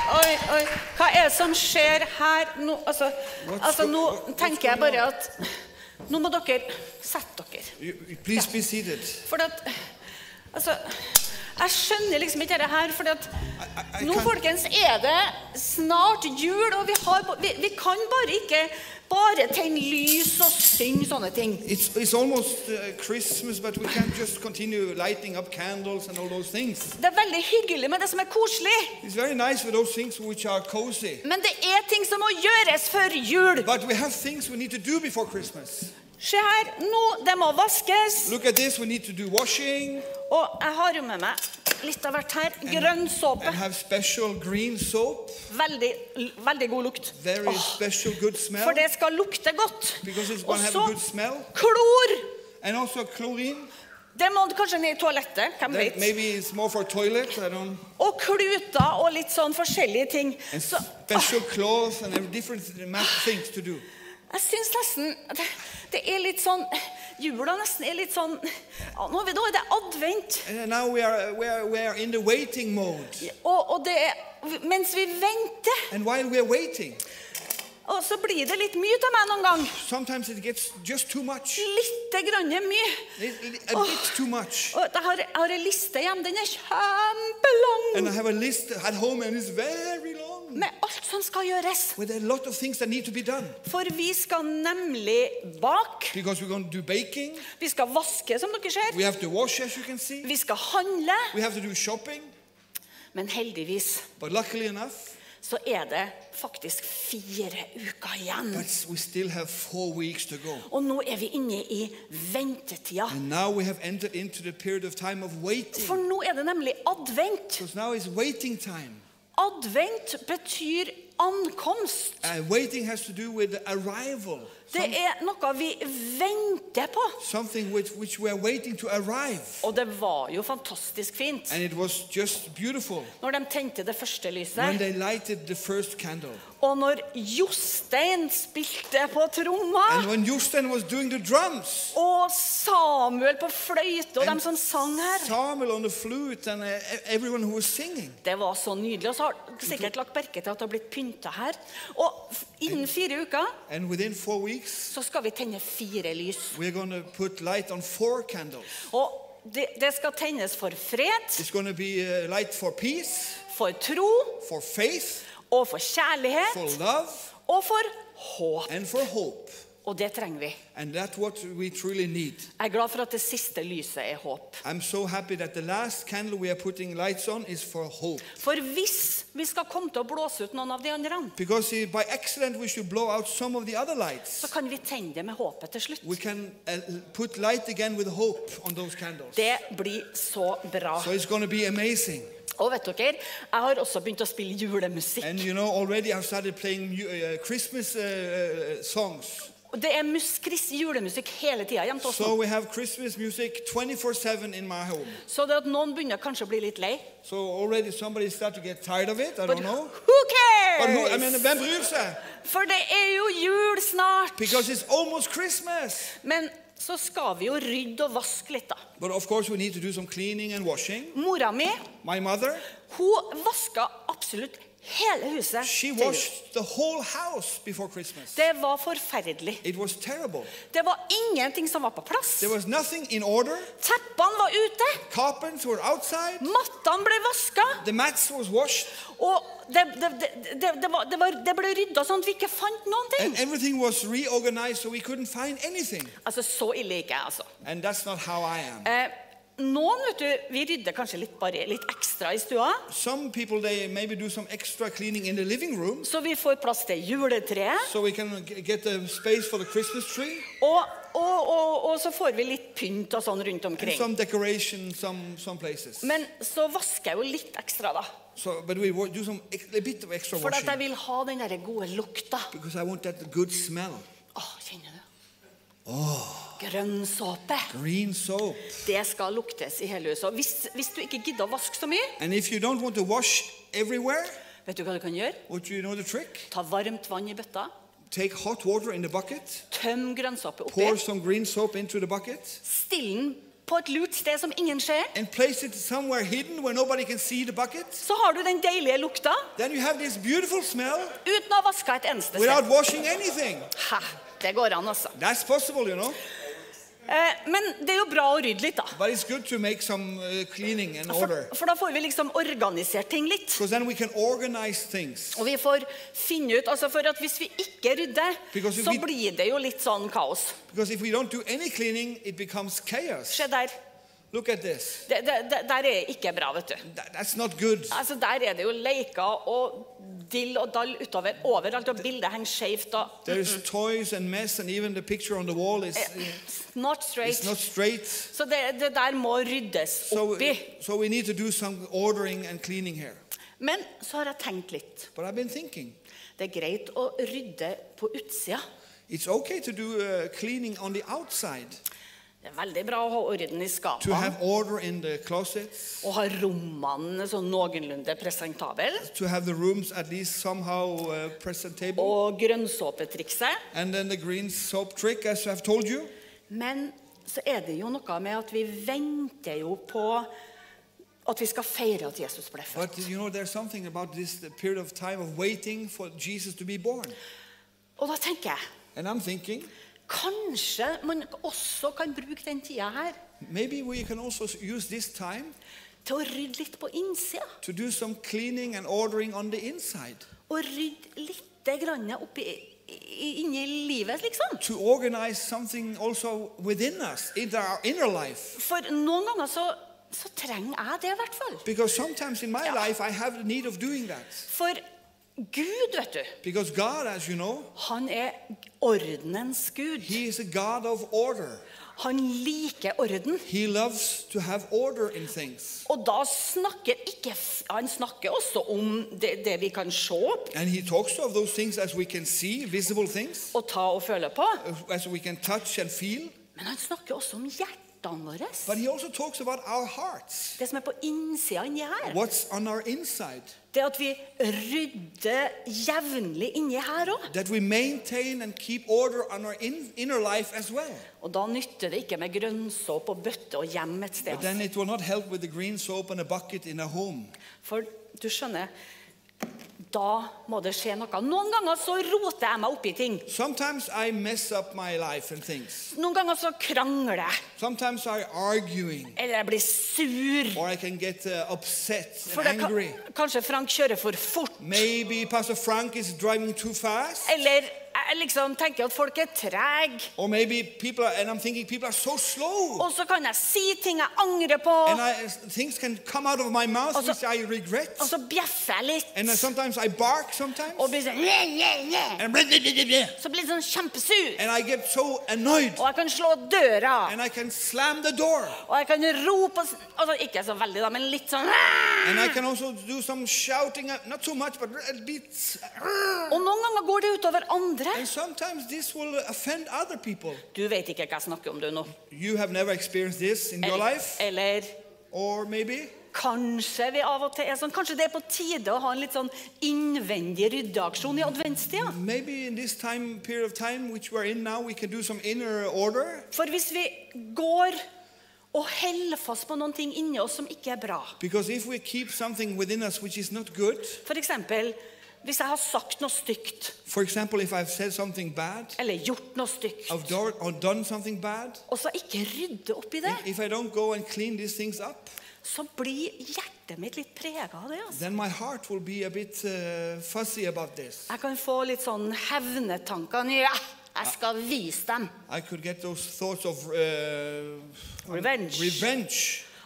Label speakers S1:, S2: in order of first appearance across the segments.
S1: skjer? Hva er det som skjer her nå? Altså, altså nå tenker jeg bare at nå må dere sette dere.
S2: You, please be seated.
S1: For at Altså, jeg skjønner liksom ikke dette her, for at
S2: I- I
S1: nå,
S2: can't-
S1: folkens, er det snart jul, og vi, har, ba- vi, vi kan bare ikke bare tenne lys og synge sånne ting.
S2: It's, it's almost uh, Christmas, but we can't just continue lighting up candles and all those things.
S1: Det er veldig hyggelig med det som er koselig,
S2: It's very nice for those things which are cozy.
S1: men det er ting som må gjøres før jul.
S2: But we have things we need to do before Christmas.
S1: Se her, nå, det må vaskes.
S2: Look at this, we need to do washing
S1: Og jeg har jo med meg litt av hvert her. Grønn såpe.
S2: and have special green soap,
S1: Veldig, veldig god lukt.
S2: very
S1: Åh,
S2: special good smell,
S1: for Oh, det skal lukte godt.
S2: because it's
S1: Og
S2: going to have
S1: så
S2: a good smell.
S1: klor!
S2: And also chlorine,
S1: Det må kanskje ned i toalettet. Hvem
S2: that
S1: vet.
S2: maybe it's more for toilet, I don't
S1: Og kluter og litt sånn forskjellige ting.
S2: And
S1: Så åh,
S2: special clothes and have different ma- things to do.
S1: jeg syns nesten det, det er litt sånn Jula nesten er litt sånn ja, nå, er vi- nå er det advent,
S2: And now we are, we are, we are in the waiting mode.
S1: og, og det er mens vi venter.
S2: And while we're waiting,
S1: Og så blir det litt mye av meg noen gang.
S2: sometimes it gets just too much.
S1: Lite grann mye.
S2: It- it- A bit too much.
S1: Og jeg har, jeg har en liste hjemme. Den er kjempelang.
S2: And I have a list at home and it's very long.
S1: Med alt som skal gjøres.
S2: With a lot of things that need to be done.
S1: For vi skal nemlig bake.
S2: Because we're going to do baking,
S1: Vi skal vaske, som dere ser.
S2: we have to wash as you can see,
S1: Vi skal handle.
S2: we have to do shopping.
S1: Men heldigvis
S2: But luckily enough,
S1: så er det faktisk fire uker igjen.
S2: but we still have four weeks to go.
S1: Og nå er vi inne i ventetida.
S2: And now we have entered into the period of time of waiting.
S1: For nå er det nemlig advent.
S2: Because now is waiting time.
S1: Advent betyr ankomst.
S2: Uh, waiting has to do with arrival,
S1: Det er noe vi venter på.
S2: something which, which we're waiting to arrive.
S1: Og det var jo fantastisk fint.
S2: And it was just beautiful
S1: Når de tente det første
S2: when
S1: lyset,
S2: they lighted the first candle.
S1: og når Jostein spilte på tromma,
S2: And when Jostein was doing the drums,
S1: og Samuel på fløyte, og
S2: And
S1: de som sang her
S2: Samuel on the flute, and uh, e- everyone who was singing.
S1: Det var så nydelig. Og så har dere sikkert lagt merke til at det har blitt pynta her. Og f- innen fire uker
S2: And within four weeks,
S1: så skal vi tenne fire lys.
S2: we're going to put light on four candles.
S1: Og det, det skal tennes for fred,
S2: It's going to be uh, light for peace,
S1: for tro,
S2: for faith,
S1: og for
S2: for
S1: kjærlighet,
S2: love,
S1: og for håp.
S2: and for hope.
S1: Og det trenger vi.
S2: And that's what we truly need.
S1: Jeg er glad for at det siste lyset er håp.
S2: I'm so happy that the last candle we are putting lights on is for hope.
S1: For hvis vi skal komme til å blåse ut noen av de andre
S2: Because eh, by accident we should blow out some of the other
S1: så
S2: lights.
S1: kan vi tenne det med håpet til slutt.
S2: We can uh, put light again with hope on those candles.
S1: Det blir så bra.
S2: So it's going to be amazing.
S1: Og vet dere, jeg har også begynt å spille julemusikk.
S2: And you know, already I've started playing mu- uh, Christmas uh, uh, songs.
S1: Og det er mus Chris julemusikk hele tida hjemme hos
S2: So
S1: oss.
S2: we have Christmas music 24 7 in my home.
S1: Så det at noen begynner kanskje å bli litt lei.
S2: So already somebody start to get tired of it. I
S1: But
S2: don't know.
S1: who
S2: But who, I mean,
S1: cares?
S2: hvem bryr seg?
S1: For det er jo jul snart.
S2: Because it's almost Christmas.
S1: Men så skal vi jo rydde og vaske litt, da.
S2: But of course, we need to do some cleaning and washing.
S1: Mora mi
S2: My mother,
S1: hun vaska absolutt hele huset.
S2: she
S1: til jul.
S2: washed the whole house before Christmas.
S1: Det var forferdelig.
S2: It was terrible.
S1: Det var ingenting som var på plass.
S2: There was nothing in order.
S1: Teppene var ute.
S2: Carpets were outside.
S1: Mattene ble vaska.
S2: The mats was washed.
S1: Og det, det, det, det, det, var, det, var, det ble rydda sånn at vi ikke fant noen ting.
S2: And everything was reorganized so we couldn't find anything.
S1: Altså, så ille ikke jeg, altså.
S2: And that's not how I am.
S1: Eh, noen, vet du, vi rydder kanskje litt, bare litt ekstra i stua.
S2: Some people, they maybe do some extra cleaning in the living room
S1: Så vi får plass til juletreet.
S2: so we can g- get the space for the Christmas tree
S1: Og, og, og, og så får vi litt pynt og sånn rundt
S2: and
S1: omkring.
S2: some decoration some, some places.
S1: Men så vasker jeg jo litt ekstra, da.
S2: So, but we wa- do some ex- a bit of extra
S1: For at jeg
S2: washing
S1: vil ha den der gode lukta.
S2: because I want that good smell.
S1: Åh, kjenner du? Grønn såpe.
S2: Green soap.
S1: Det skal luktes i hele huset. Og hvis, hvis du ikke gidder å vaske så mye,
S2: And if you don't want to wash everywhere,
S1: vet du hva du kan gjøre?
S2: Would you know the trick?
S1: Ta varmt vann i bøtta.
S2: Take hot water in the bucket,
S1: Tøm grønnsåpe oppi.
S2: pour some green soap into the bucket,
S1: Still den på et lurt sted som ingen ser.
S2: and place it somewhere hidden where nobody can see the bucket.
S1: Så har du den deilige lukta
S2: Then you have this beautiful smell
S1: uten å ha vaska et eneste sted.
S2: without washing anything.
S1: Ha, det går an, altså.
S2: That's possible, you know.
S1: Eh, men det er jo bra å rydde litt, da.
S2: But it's good to make some uh, cleaning and
S1: For,
S2: order.
S1: for da får vi liksom organisert ting litt.
S2: Because then we can organize things.
S1: Og vi får finne ut altså For at hvis vi ikke rydder,
S2: Because if
S1: så
S2: we-
S1: blir det jo litt sånn kaos.
S2: Because if we don't do any cleaning, it becomes chaos.
S1: Se der.
S2: Look at this.
S1: Det, det, det der er ikke bra, vet du.
S2: That, that's not good.
S1: Altså, Der er det jo leker og dill og dall utover overalt, og bildet henger skjevt og
S2: There is toys and mess, and even the picture on the wall is
S1: not
S2: it's
S1: straight.
S2: not straight.
S1: Så det, det der må ryddes
S2: So,
S1: oppi.
S2: so we need to do some ordering and cleaning here.
S1: Men så har jeg tenkt litt.
S2: But I've been thinking,
S1: Det er greit å rydde på utsida.
S2: it's okay to do uh, cleaning on the outside,
S1: Det er veldig bra å ha orden i
S2: to
S1: skapene
S2: have order in the closets,
S1: og ha rommene sånn noenlunde presentable.
S2: to have the rooms at least somehow uh, presentable,
S1: Og grønnsåpetrikset.
S2: and then the green soap trick, as I've told you.
S1: Men så er det jo noe med at vi venter jo på at vi skal feire at Jesus ble født.
S2: But you know, there's something about this the period of time of waiting for Jesus to be born.
S1: Og da tenker jeg
S2: And I'm thinking,
S1: Kanskje man også kan bruke den tida her
S2: maybe we can also s- use this time
S1: til å rydde litt på innsida.
S2: to do some cleaning and ordering on the inside,
S1: Og rydde litt grann oppi, i- inni livet, liksom.
S2: to organize something also within us, in our inner life.
S1: For noen ganger så, så trenger jeg det, i hvert fall.
S2: Because sometimes in my
S1: Yeah.
S2: life I have the need of doing that.
S1: For Gud, vet du,
S2: Because God, as you know,
S1: han er ordenens gud.
S2: He is a God of order.
S1: Han liker orden.
S2: He loves to have order in things.
S1: Og da snakker ikke f- Han snakker også om det, det vi kan se
S2: And He talks of those things as we can see, visible things,
S1: og ta og føle på.
S2: uh, as we can touch and feel.
S1: Men han snakker også om hjertene våre.
S2: But He also talks about our hearts,
S1: Det som er på innsida inni her.
S2: what's on our inside,
S1: Det at vi rydder jevnlig inni her òg.
S2: that we maintain and keep order on our in, inner life as well.
S1: Og da nytter det ikke med grønnsåp og bøtte og hjem et sted.
S2: But then it will not help with the green soap and a bucket in a home.
S1: altså. For du skjønner, da må det skje noe. Noen ganger så roter jeg meg oppi ting.
S2: Sometimes I mess up my life and things.
S1: Noen ganger så krangler jeg.
S2: Sometimes I arguing,
S1: Eller jeg blir sur.
S2: or I can get uh, upset
S1: For
S2: and
S1: det kan,
S2: angry.
S1: kanskje Frank kjører for fort.
S2: Maybe Pastor Frank is driving too fast,
S1: Eller jeg liksom tenker at folk er trege.
S2: or maybe people are, and I'm thinking people are so slow,
S1: Og så kan jeg si ting jeg angrer på.
S2: and I, things can come out of my mouth
S1: Also-
S2: which I regret,
S1: Og så bjeffer jeg litt.
S2: and I, sometimes I bark sometimes,
S1: Og blir sånn nye, nye, nye.
S2: and, and
S1: Så blir jeg sånn kjempesur.
S2: I get so annoyed,
S1: Og jeg kan slå døra.
S2: and I can slam the door,
S1: Og jeg kan rope og s- altså, Ikke så veldig, da, men litt sånn «Aah!»
S2: and I can also do some shouting, uh, not too much, but a bit.
S1: Og noen ganger går det utover andre.
S2: And sometimes this will offend other people.
S1: Du vet ikke hva jeg snakker om, du nå.
S2: You have never experienced this in your
S1: Eller,
S2: life,
S1: eller
S2: or maybe
S1: kanskje vi av og til er sånn Kanskje det er på tide å ha en litt sånn innvendig ryddeaksjon i adventstida?
S2: Maybe in this time period of time which we're in now, we can do some inner order
S1: For hvis vi går og holder fast på noen ting inni oss som ikke er bra
S2: because if we keep something within us which is not good,
S1: F.eks. hvis jeg har sagt noe stygt
S2: for example, if I've said something bad,
S1: eller gjort noe stygt,
S2: I've done or done something bad,
S1: og så ikke rydde oppi det,
S2: if I don't go and clean these things up,
S1: så blir hjertet mitt litt prega av det. altså.
S2: then my heart will be a bit uh, fuzzy about this.
S1: Jeg kan få litt sånn hevnetanker. Ja, jeg skal vise dem.
S2: I could get those thoughts of uh,
S1: Revenge.
S2: Revenge.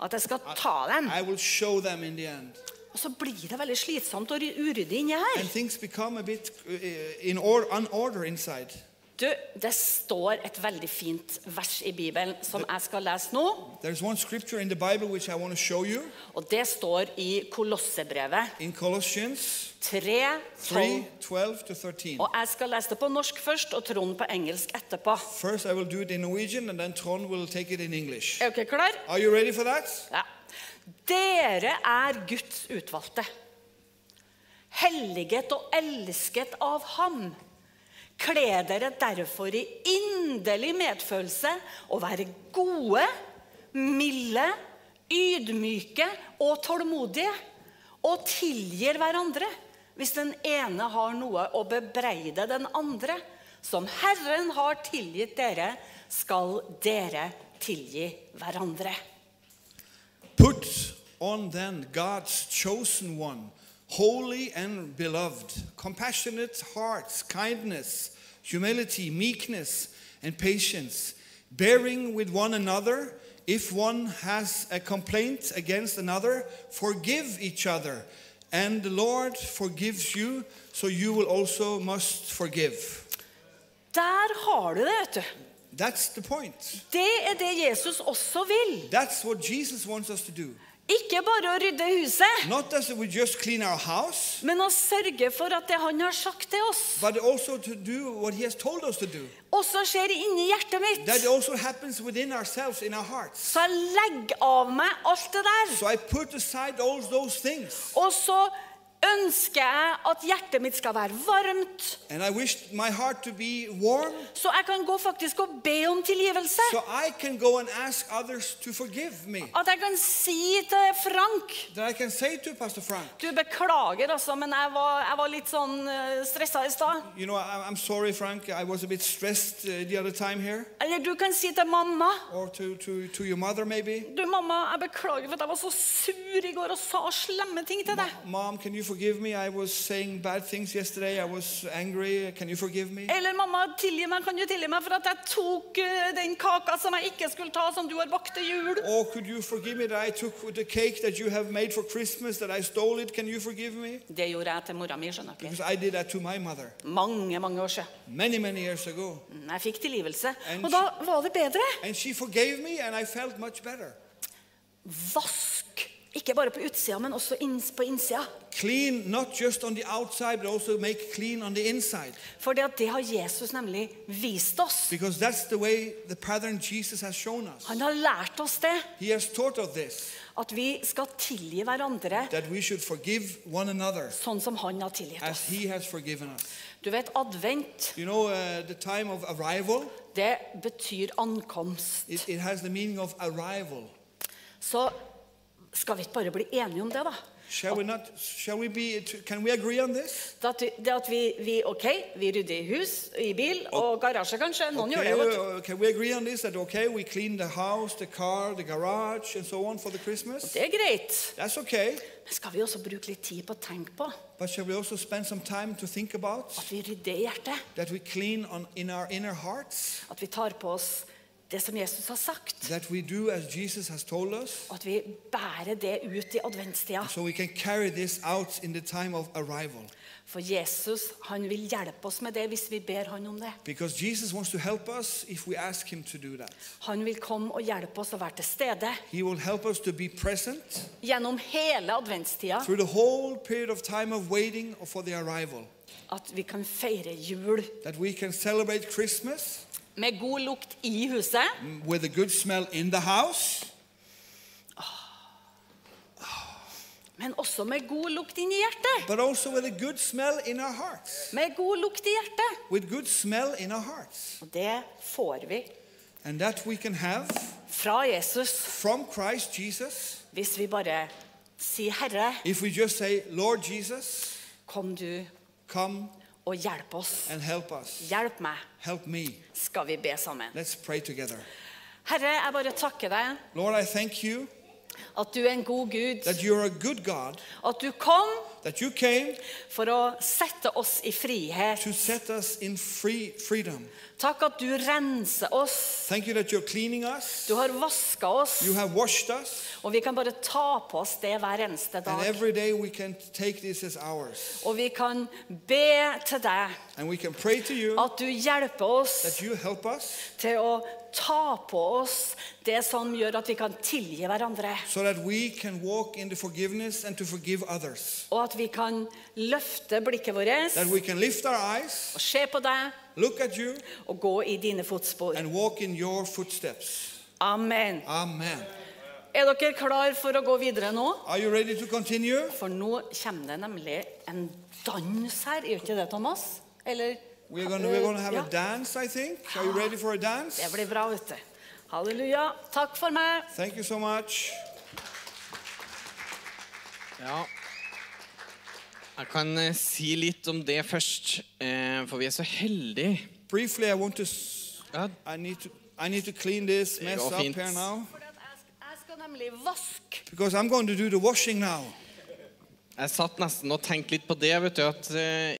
S1: At jeg skal ta dem.
S2: I will show them in the end.
S1: Og så blir det veldig slitsomt og ry- uryddig inni
S2: And
S1: her.
S2: things become a bit uh, in or- unorder inside.
S1: Du, det står et veldig fint vers i Bibelen som jeg skal lese nå.
S2: There's one scripture in the Bible which I want to show you.
S1: Og det står i Kolossebrevet
S2: in Colossians
S1: 3, 12.
S2: 3 12 to 13.
S1: Og jeg skal lese det på norsk først, og Trond på engelsk etterpå.
S2: First, I will do it in Norwegian, and then Trond will take it in English.
S1: Er dere klare?
S2: Are you ready for that?
S1: Ja. Dere er Guds utvalgte. Helliget og elsket av ham. Kle dere derfor i inderlig medfølelse og være gode milde, ydmyke og tålmodige, og tilgir hverandre hvis den ene har noe å bebreide den andre. Som Herren har tilgitt dere, skal dere tilgi hverandre.
S2: Put on then God's chosen one, holy and beloved, compassionate hearts, kindness, humility, meekness, and patience, bearing with one another. If one has a complaint against another, forgive each other. And the Lord forgives you, so you will also must forgive.
S1: Der har du det, vet du.
S2: That's the point.
S1: Det er det Jesus også vil.
S2: That's what Jesus wants us to do.
S1: Ikke bare å rydde huset,
S2: Not that we just clean our house,
S1: men å sørge for at det han har sagt til oss,
S2: but also to do what he has told us to do.
S1: også skjer inni hjertet
S2: That
S1: mitt.
S2: also happens within ourselves, in our hearts.
S1: Så jeg legger av meg alt det der.
S2: So I put aside all those things.
S1: Og så ønsker jeg at hjertet mitt skal være varmt,
S2: And I wish my heart to be warm
S1: så jeg kan gå faktisk og be om tilgivelse.
S2: so I can go and ask others to forgive me.
S1: At jeg kan si til Frank
S2: That I can say to Pastor Frank,
S1: Du, beklager, altså, men jeg var, jeg var litt sånn eh, stressa i stad.
S2: you know, I- I'm sorry, Frank, I was a bit stressed uh, the other time here.
S1: Eller du kan si til mamma
S2: Or to, to, to your mother, maybe.
S1: Du, mamma, jeg beklager for at jeg var så sur i går og sa slemme ting til deg.
S2: Mom, can you forgive me? I was saying bad things yesterday. I was angry. Can you forgive me?
S1: Eller mamma, tilgi meg, kan du tilgi meg for at jeg tok eh, den kaka som jeg ikke skulle ta, som du har bakt til jul?
S2: Or Oh, could you forgive me that I took the cake that you have made for Christmas, that I stole it? Can you forgive me?
S1: Det gjorde jeg til mora mi, skjønner dere.
S2: Because I did that to my mother
S1: Mange, mange år siden.
S2: many, many years ago.
S1: Mm, Jeg fikk tilgivelse.
S2: En-
S1: Og da var det bedre.
S2: And she forgave me, and I felt much better.
S1: Vask. Ikke bare på utsida, men også inns på innsida.
S2: Clean, not just on the outside, but also make clean on the inside.
S1: For det at det har Jesus nemlig vist oss.
S2: Because that's the way the pattern Jesus has shown us.
S1: Han har lært oss det.
S2: He has taught us this
S1: At vi skal tilgi hverandre
S2: that we should forgive one another
S1: sånn som han har tilgitt oss.
S2: as He has forgiven us.
S1: Du vet, advent,
S2: You know, uh, the time of arrival,
S1: det betyr ankomst.
S2: it, it has the meaning of arrival.
S1: Så skal vi ikke bare bli enige om det, da?
S2: Shall we not? Shall we be? Can we agree on this?
S1: Det at, vi- det at vi, vi OK, vi rydder i hus, i bil og garasje, kanskje. Noen gjør
S2: Okay,
S1: det. vet du.
S2: uh, can we agree on this? That okay, we clean the house, the car, the garage, and so on for the Christmas.
S1: Det er greit.
S2: That's okay.
S1: Men skal vi også bruke litt tid på å tenke på at
S2: But shall we also spend some time to think about
S1: vi rydder i hjertet?
S2: that we clean on in our inner hearts,
S1: At vi tar på oss det som Jesus har sagt?
S2: that we do as Jesus has told us,
S1: Og at vi bærer det ut i adventstida?
S2: so we can carry this out in the time of arrival.
S1: For Jesus han vil hjelpe oss med det hvis vi ber han om det.
S2: Because Jesus wants to help us if we ask him to do that.
S1: Han vil komme og hjelpe oss å være til stede
S2: He will help us to be present
S1: gjennom hele adventstida.
S2: through the whole period of time of waiting for the arrival.
S1: At vi kan feire jul
S2: That we can celebrate Christmas
S1: med god lukt i huset.
S2: with a good smell in the house.
S1: Men også med god lukt inn i hjertet.
S2: but also with a good smell in our hearts.
S1: Med god lukt i hjertet.
S2: With good smell in our hearts.
S1: Og det får vi
S2: And that we can have
S1: fra Jesus
S2: from Christ Jesus
S1: hvis vi bare sier, 'Herre,
S2: if we just say, Lord Jesus,
S1: kom du
S2: come
S1: og hjelp oss'.
S2: and help us.
S1: Hjelp meg,
S2: Help me.
S1: skal vi be sammen.
S2: Let's pray together.
S1: Herre, jeg bare takker deg
S2: Lord, I thank you
S1: at du er en god Gud.
S2: that you're a good God,
S1: At du kom
S2: that you came
S1: for å sette oss i frihet.
S2: to set us in free freedom.
S1: Takk at du renser oss.
S2: Thank you that you're cleaning us.
S1: Du har vaska oss,
S2: You have washed us,
S1: og vi kan bare ta på oss det hver eneste
S2: and
S1: dag.
S2: every day we can take this as ours.
S1: Og vi kan be til deg
S2: And we can pray to you
S1: at du hjelper oss
S2: that you help us
S1: til å ta på oss det som gjør at vi kan tilgi hverandre.
S2: so that we can walk in the forgiveness and to forgive others.
S1: Og at vi kan løfte blikket vårt
S2: That we can lift our eyes,
S1: og se på deg
S2: look at you,
S1: og gå i dine fotspor.
S2: and walk in your footsteps.
S1: Amen.
S2: Amen.
S1: Er dere klar for å gå videre nå?
S2: Are you ready to continue?
S1: For nå kommer det nemlig en dans her, gjør ikke det, Thomas? Eller
S2: We're gonna, we're gonna have
S1: Ja,
S2: a dance, I think. Are you ready for a dance?
S1: Det blir bra, vet du. Halleluja. Takk for meg.
S2: Thank you so much.
S3: Ja. Jeg kan eh, si litt om det først, eh, for vi er så heldige.
S2: Briefly, I want to. s-
S3: Ja.
S2: I need to. I need to clean this mess
S3: går
S2: up
S3: fint.
S2: here now
S1: For at jeg, sk- jeg skal nemlig vaske.
S2: because I'm going to do the washing now.
S3: Jeg satt nesten og tenkte litt på det, vet du, at eh,